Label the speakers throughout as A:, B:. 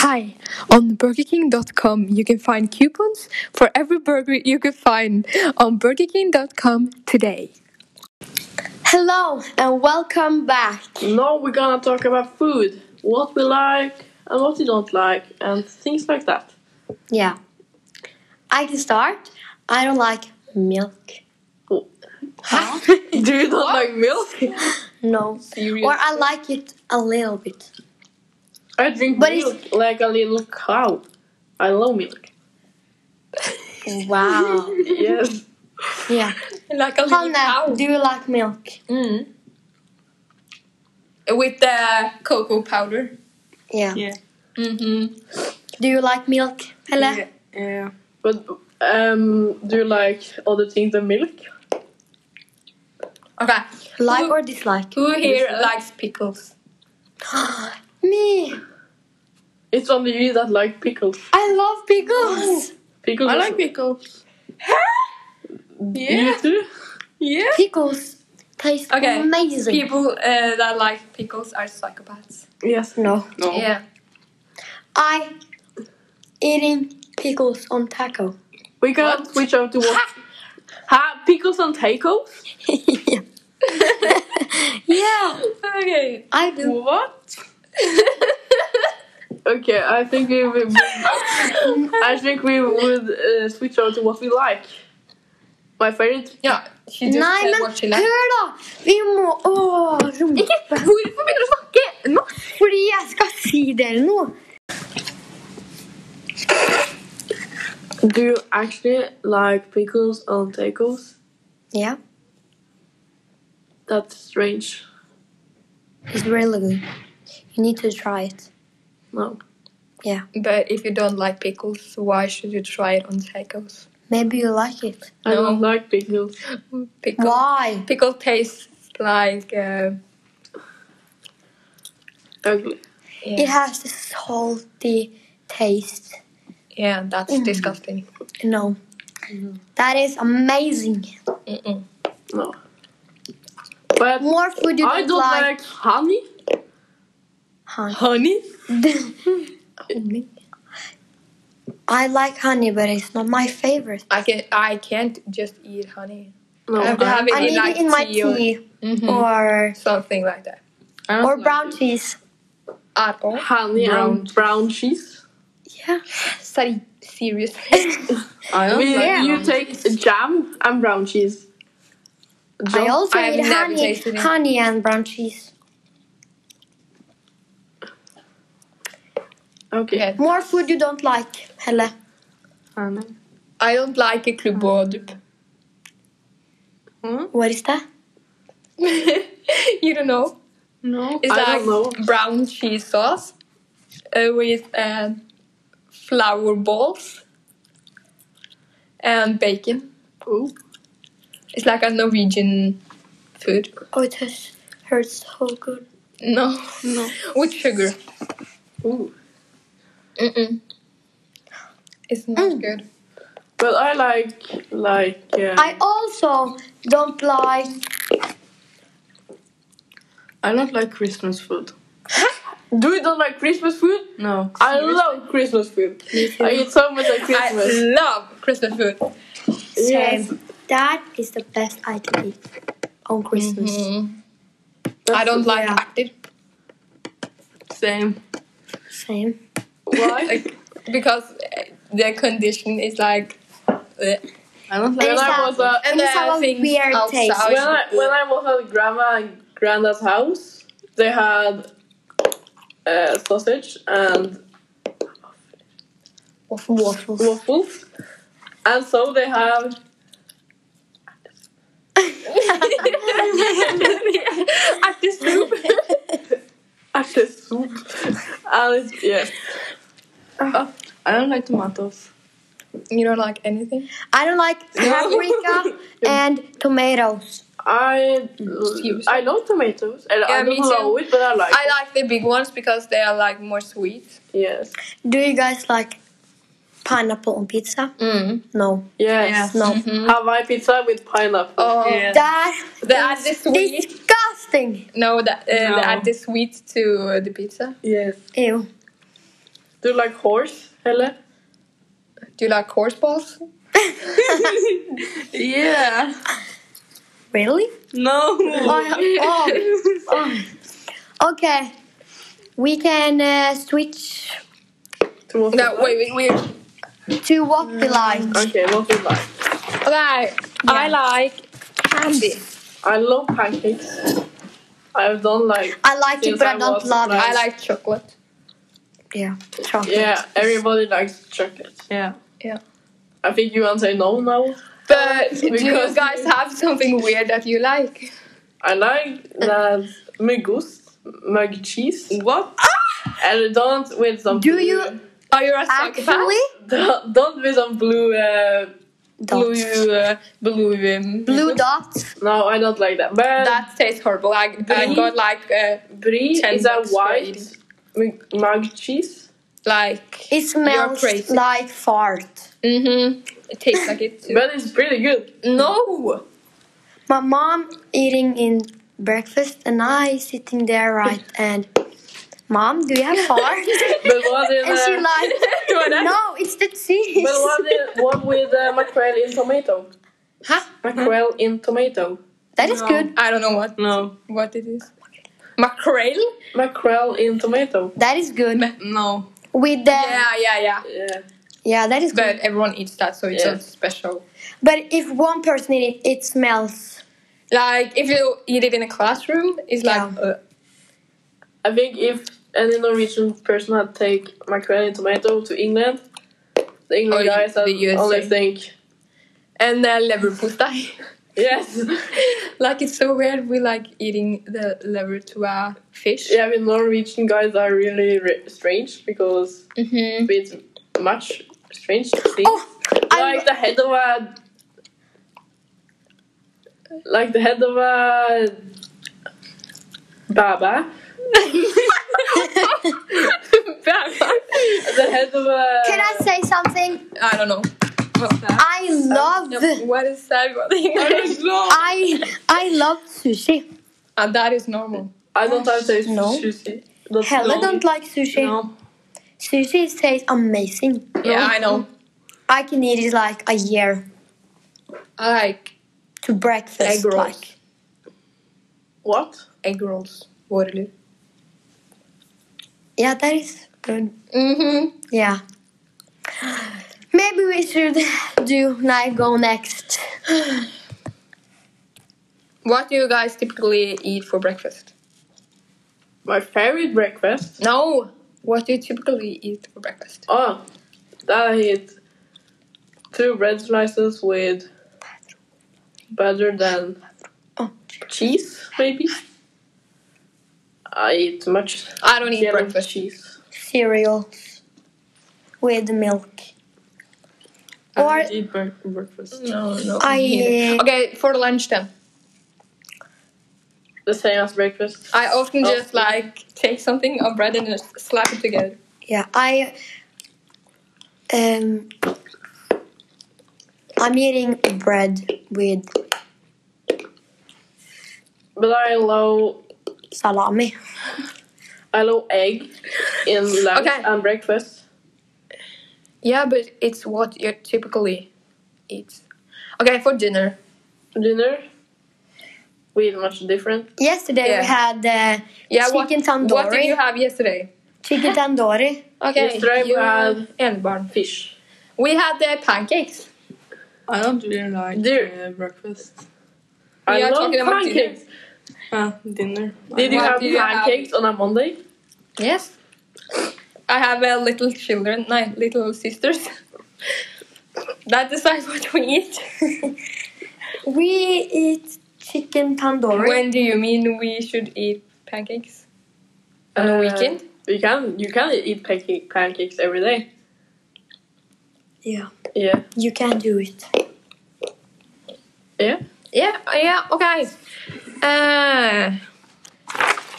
A: Hi, on BurgerKing.com you can find coupons for every burger you could find on BurgerKing.com today.
B: Hello and welcome back.
C: Now we're gonna talk about food, what we like and what we don't like, and things like that.
B: Yeah. I can start. I don't like milk.
C: Oh.
B: Huh?
C: Do you not like milk?
B: no.
C: Serious.
B: Or I like it a little bit.
C: I drink
B: But it's-
C: milk like a little cow. I love milk.
B: Wow.
C: Yes.
B: yeah.
A: Like a little
B: Hanna,
A: cow
B: do you like milk?
A: Mm. with the cocoa powder.
B: Yeah.
C: Yeah.
A: Mm-hmm.
B: Do you like milk, Pelle?
C: Yeah. But um, do you like other things than milk?
A: Okay,
B: Like
C: Oh.
A: who,
B: or dislike?
A: who here likes pickles?
B: Me.
C: It's only you that like pickles.
B: I love pickles.
C: Pickles. is-
A: pickles.
C: You
A: Yeah,
C: too.
A: yeah.
B: Pickles taste
A: Okay.
B: amazing.
A: People uh, that like pickles are psychopaths.
C: Yes.
B: no.
C: No.
A: Yeah.
B: I eating pickles on taco.
C: We gotta
A: What?
C: switch over to what? ha! Pickles and tacos?
B: yeah,
A: Okay.
B: I do.
C: What? Okay, I think we, we, I think we would uh, switch over to what we like. My favorite.
A: Ja, she just
B: Nei,
A: said
B: men
A: what she likes.
B: hør, da! Vi må Å,
A: Ikke
B: rope.
A: Hvorfor begynner du å snakke nå?
B: Fordi jeg skal si dere noe.
C: Do you actually like pickles and tacos?
B: Yeah,
C: That's strange.
B: it's really good. You need to try it.
C: No.
A: But if you don't like pickles, why should you try it on tacos?
B: Maybe you like it.
C: I don't like pickles.
A: Pickle,
B: Why?
A: pickle tastes like. Uh,
C: Ugly.
B: It
A: yeah,
B: has a salty taste.
A: yeah, that's
B: Mm.
A: disgusting.
B: No.
A: Mm-hmm.
B: That is amazing.
A: Mm-mm.
C: No. But
B: More food you don't,
C: I don't like, honey.
B: Honey.
C: Honey?
B: I like honey, but it's not my favorite.
A: I can I can't just eat honey.
C: No.
A: I have to have it
B: I
A: in
B: need
A: like
B: it in my
A: tea or
B: tea
A: Mhm.
B: or
A: something like that.
C: I don't
B: or
C: like
B: brown
C: it.
B: cheese.
A: At all?
C: Honey
A: Brown
C: and brown cheese.
B: Yeah.
A: Sorry, seriously.
C: I
A: don't
C: we,
B: like
C: You
B: brown
C: take jam and brown cheese.
B: I
C: Jam-
B: also
A: I have
B: eat
A: never
B: honey,
A: tasted it.
B: honey and brown cheese.
C: Okay.
A: Yeah.
B: More food you don't like, Helle.
C: Honey.
A: I don't like a
C: Um,
A: klubbord.
B: What is that?
A: you don't know?
C: No.
A: It's
C: I
A: like
C: don't know.
A: brown cheese sauce uh, with uh, flour balls and bacon.
C: Ooh.
A: It's like a Norwegian food.
B: Oh, it has hurts so good.
A: No,
C: No.
A: with sugar.
C: Ooh.
A: Mm-mm. It's not
B: Mm.
A: good.
C: But I like like uh,
B: I also don't like.
C: I don't like Christmas food. Do you don't like Christmas food?
A: No.
C: I love Christmas food. I eat so much at Christmas.
A: I love Christmas food.
C: Yes.
B: Same. That is the best I can eat on Christmas.
A: Mm-hmm. I don't like
B: Yeah.
A: active
C: Same.
B: Same.
C: Why?
A: like, because uh, the condition is like. uh, bleh.
C: I don't
B: like-
C: when I
B: Exactly.
C: was
A: uh,
C: at
A: And
B: And it's
A: there are
B: our
A: things
B: weird
A: outside.
B: taste.
C: when I when I was at grandma and granda's house, they had uh, sausage and
B: Waffles. Waffles.
C: waffles, and so they have
A: Active soup.
C: actually soup. and it's, yes, Oh, I don't like tomatoes.
A: You don't like anything?
B: I don't like paprika and tomatoes.
C: I
A: Excuse
C: I love tomatoes. and
A: Yeah,
C: I
A: me
C: don't love it, but I like.
A: I
C: it.
A: like the big ones because they are like more sweet.
C: Yes.
B: Do you guys like pineapple on pizza?
A: Mm.
B: No.
C: Yes.
B: No.
C: Hawaii pizza with pineapple.
A: Oh,
C: Yeah.
B: That
A: they add the sweet.
B: disgusting.
A: No, that, uh,
C: No.
A: they add the sweet to uh, the pizza.
C: Yes.
B: Ew.
C: Do you like horse, Helle?
A: Do you like horse balls?
C: Yeah.
B: Really?
C: No.
B: oh, Okay. We can uh, switch
C: To what
A: No,
C: you like?
A: wait, wait, wait.
B: to what we like.
C: Okay, what do you like?
A: Okay, I like candy.
C: I love pancakes. I don't like.
B: I like it,
C: Since
B: but I
C: I
B: don't
C: was
B: love it.
C: like-
A: I like chocolate.
B: yeah, chocolate.
C: Yeah, everybody likes chocolate.
D: Yeah.
C: I think you won't say no now.
A: But do you
C: Because-
A: guys have something weird that you like?
C: I like that muggost, mug cheese,
D: What?
C: and don't with some.
B: Ah! Do
C: blue-
B: you-
A: Are you Ah, a psychopath?
B: Actually,
C: Don't, don't with some blue. Uh,
B: dots.
C: blue. Uh, blue. Um,
B: Blue dots.
C: No, I don't like that. But
A: That tastes horrible. I, I
C: Green?
A: got like uh,
C: brie
A: Ten
C: is a
A: bucks for
C: white mug mug cheese.
A: like
B: It smells
A: crazy.
B: like fart.
A: mm-hmm. It tastes like it. Too.
C: But it's pretty good.
A: No,
B: My mom eating in breakfast, and I sitting there right and. Mom, do you have fart?
C: But what in
B: and she
C: uh,
B: like, no, it's the cheese.
C: But what in, what with uh, mackerel in tomato?
A: Huh?
C: Mackerel in tomato.
B: that is
D: No.
B: good.
A: I don't know what
D: No.
A: what it is. Mackerel?
C: Mackerel in tomato.
B: That is good.
D: No.
B: With the yeah,
A: Yeah, yeah, yeah.
C: Yeah.
B: that is
A: But
B: good.
A: everyone eats that, so it's
C: Yeah.
A: not special.
B: But if one person eat it, it smells.
A: Like if you eat it in a classroom, it's like
B: Yeah.
A: uh,
C: I think if any Norwegian person had take mackerel in tomato to England, the England
A: Or
B: Oh,
C: guys
A: the
C: would
A: USA.
C: only think
A: and uh, leverpostej.
C: yes.
A: like it's so weird. We like eating the liver to a fish.
C: yeah, I mean Norwegian guys are really re- strange because
A: Mm-hmm.
C: it's much strange things.
B: Mm. Oh, I
C: like the head of a like the head of a baba the head of a
B: Can I say something?
A: I don't know. What's that?
B: I love,
A: What is that? What is
B: I, I love sushi.
A: And Uh, that is normal.
C: I don't have taste
B: No.
C: sushi That's
B: Hell, I
C: no.
B: don't like sushi.
D: No.
B: Sushi tastes amazing.
A: Yeah, I know.
B: I can eat it like a year
A: I like
B: to breakfast.
A: egg rolls.
B: Like
C: what
A: egg rolls. Waterloo.
B: yeah, that is good.
A: Mm-hmm.
B: Yeah. Maybe we should do now go next.
A: What do you guys typically eat for breakfast?
C: my favorite breakfast
A: No. What do you typically eat for breakfast?
C: oh that I hit two bread slices with better than
B: Oh.
C: cheese maybe I eat much
A: I don't eat
C: yellow
A: breakfast.
C: cheese
B: Cereals with milk. Or
C: I don't eat bre- breakfast
A: No, no.
B: I-
A: neither. Okay, for lunch then.
C: the same as breakfast
A: I often
C: Oh.
A: just like take something of bread and just slap it together.
B: yeah, I um I'm eating bread with
C: But I love
B: salami.
C: I love egg in lunch
A: Okay.
C: and breakfast.
A: Yeah, but it's what you typically eat. Okay, for dinner.
C: Dinner. We eat much different.
B: Yesterday
A: Yeah.
B: we had uh,
A: Yeah, what,
B: chicken tandoori.
A: what did you have yesterday?
B: Chicken tandoori.
A: Okay,
C: Yesterday
A: you
C: we had-
A: and barn.
C: Fish.
A: We had the pancakes.
D: I don't really like
C: Dear.
D: uh, breakfast.
A: We
C: I
A: are
C: love
A: talking about
C: pancakes.
D: Uh, dinner.
C: Did you
A: What
C: have
A: do you have?
C: pancakes on a Monday?
A: Yes. I have uh, little children, my little sisters. that decides what we eat.
B: We eat chicken tandoori.
A: when do you mean we should eat pancakes? On the
C: Uh,
A: weekend?
C: You can you can eat pancake, pancakes every day.
B: yeah,
C: Yeah.
B: you can do it.
C: Yeah.
A: Yeah, yeah, okay. Uh,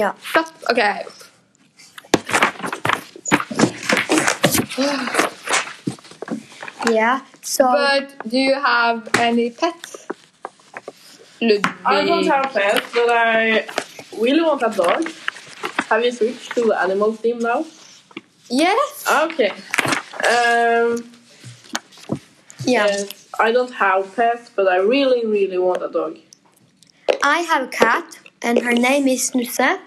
B: Yeah.
A: Stop. Okay.
B: Yeah. So
A: But do you have any pets? Ludvig.
C: I don't have pets, but I really want a dog. Have you switched to the animal theme now?
B: Yes.
C: Okay. Um,
B: Yeah.
C: Yes. I don't have pets, but I really, really want a dog.
B: I have a cat, and her name is Snuse,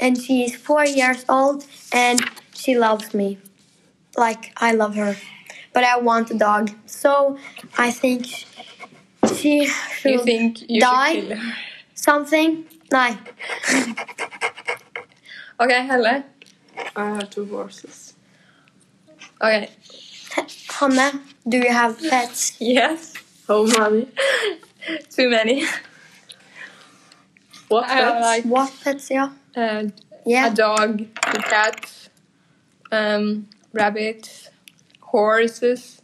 B: and she is four years old, and she loves me. Like, I love her. But I want a dog. So I think sh- she
A: You
B: should
A: think you
B: Die.
A: should kill her.
B: something. No.
A: OK, Helle.
D: I have two horses.
A: OK.
B: Hanne, do you have pets?
A: Yes.
C: How many?
A: Too many.
C: What
A: I have
C: pets?
A: like
B: What pets, yeah?
A: uh, a
B: Yeah.
A: dog, two cats, um, rabbits, horses,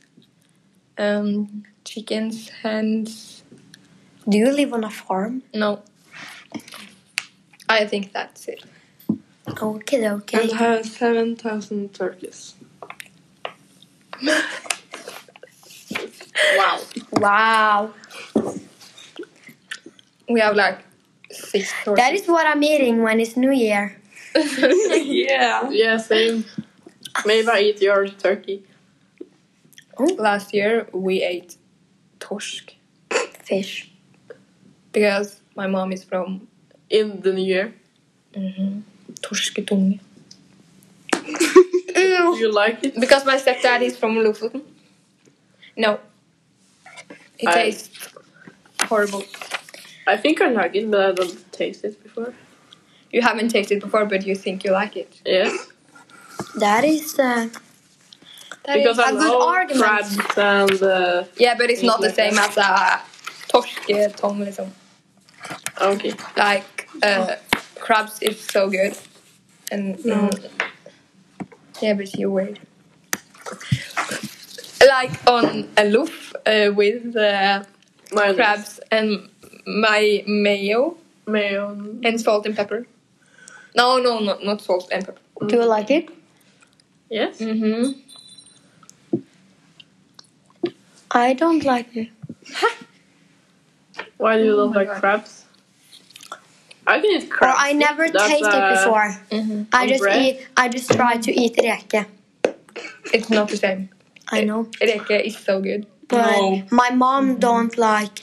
A: um, chickens, hens.
B: Do you live on a farm?
A: No. I think that's it.
B: Okay, okay.
D: And I have 7,000 turkeys.
C: Wow.
B: Wow.
A: We have like six horses.
B: That is what I'm eating when it's New Year.
D: yeah.
C: Yeah, same. Maybe I eat your turkey.
A: Last year we ate torsk
B: Fish.
A: because my mom is from
C: In the new year.
A: mm Torsketunge.
C: Do
B: Ew.
C: you like it?
A: Because my stepdad is from Lofoten. No. It
C: I-
A: tastes horrible.
C: I think I like it, but I don't taste it before.
A: You haven't tasted before, but you think you like it.
C: Yes.
B: That is uh,
A: That
C: because
A: is-
C: I
B: a good
C: love
B: argument.
C: crabs and uh,
A: yeah, but it's not the
C: Like that.
A: same as uh, a torsketom, liksom.
C: okay.
A: like uh, crabs is so good and
D: No.
A: mm, yeah but you're weird like on a loof uh, with uh,
C: Mayonnaise.
A: crabs and my mayo
C: Mayo.
A: and salt and pepper no no no not salt and pepper
B: Do you like it?
C: Yes.
A: mm-hmm.
B: I don't like it.
C: Why do you don't
A: my
C: like
A: God.
C: crabs? I can eat
B: Or
C: crabs.
B: I never
C: That's,
B: tasted
C: uh,
B: before.
A: Mm-hmm.
B: I just
C: bread?
B: eat. I just try to eat reke.
A: it's not the same
B: I know,
A: reke is so good
B: but
D: No.
B: my mom don't like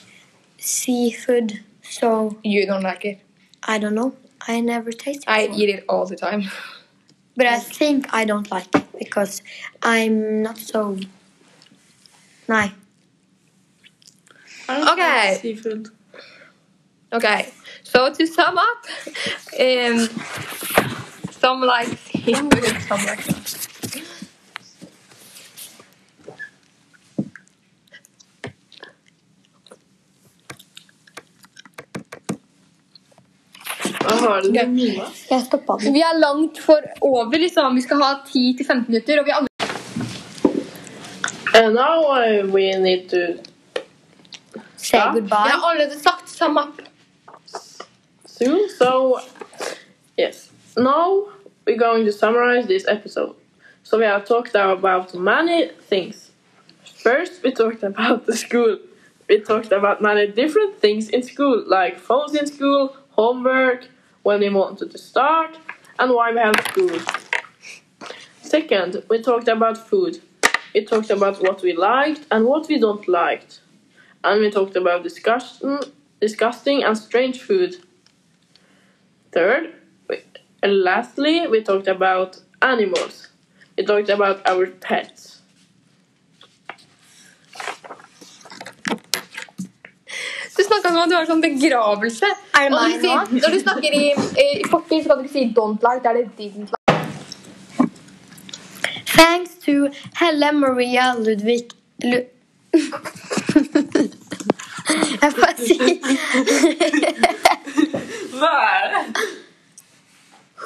B: seafood, so
A: you don't like it
B: I don't know. I never tasted.
A: i
B: before.
A: eat it all the time
B: but I think I don't like it because I'm not so. No.
D: I don't
A: Okay.
D: like Seafood.
A: Okay, so to sum up, um, some likes him, some like us.
C: Hva har du?
A: Okay.
B: Jeg stoppa den.
A: Vi er langt for over, liksom. Vi skal ha 10-15 minutter, og vi alle
C: And now uh, we need to
B: Say
C: Ja.
A: Vi
B: goodbye.
A: har allerede sagt sum up.
C: soon. So, yes. Now we're going to summarize this episode. So, we have talked about many things. First, we talked about the school. We talked about many different things in school, like phones in school, homework, when we wanted to start, and why we have school. Second, we talked about food. We talked about what we liked and what we don't liked. And we talked about discussion, disgusting and strange food. Third, we- and lastly, we talked about animals. We talked about our pets.
A: Du snakka som om du var sånn begravelse.
B: Er det
A: Og når
B: meg
A: du,
B: nå?
A: sier, når du snakker i, i fortid, så kan du ikke si 'don't like'. Da er det 'didn't like'.
B: Thanks to Helle Maria Ludvig Lu Jeg får si
C: Hva er det?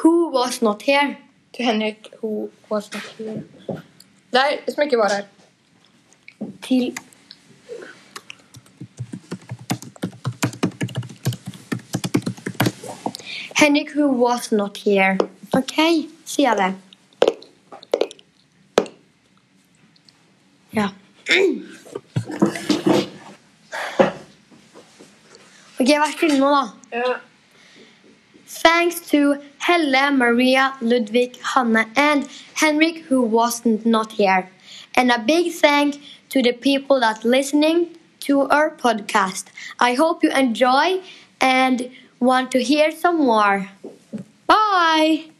B: Who was not here?
A: To Henrik, who was not here. Det er som ikke var her.
B: Til Henrik who was not here. OK, sier jeg det. Ja. OK, vær stille nå, da.
C: Ja.
B: Thanks to Helle, Maria, Ludwig, Hanna, and Henrik, who wasn't not here. And a big thank to the people that listening to our podcast. I hope you enjoy and want to hear some more. Bye.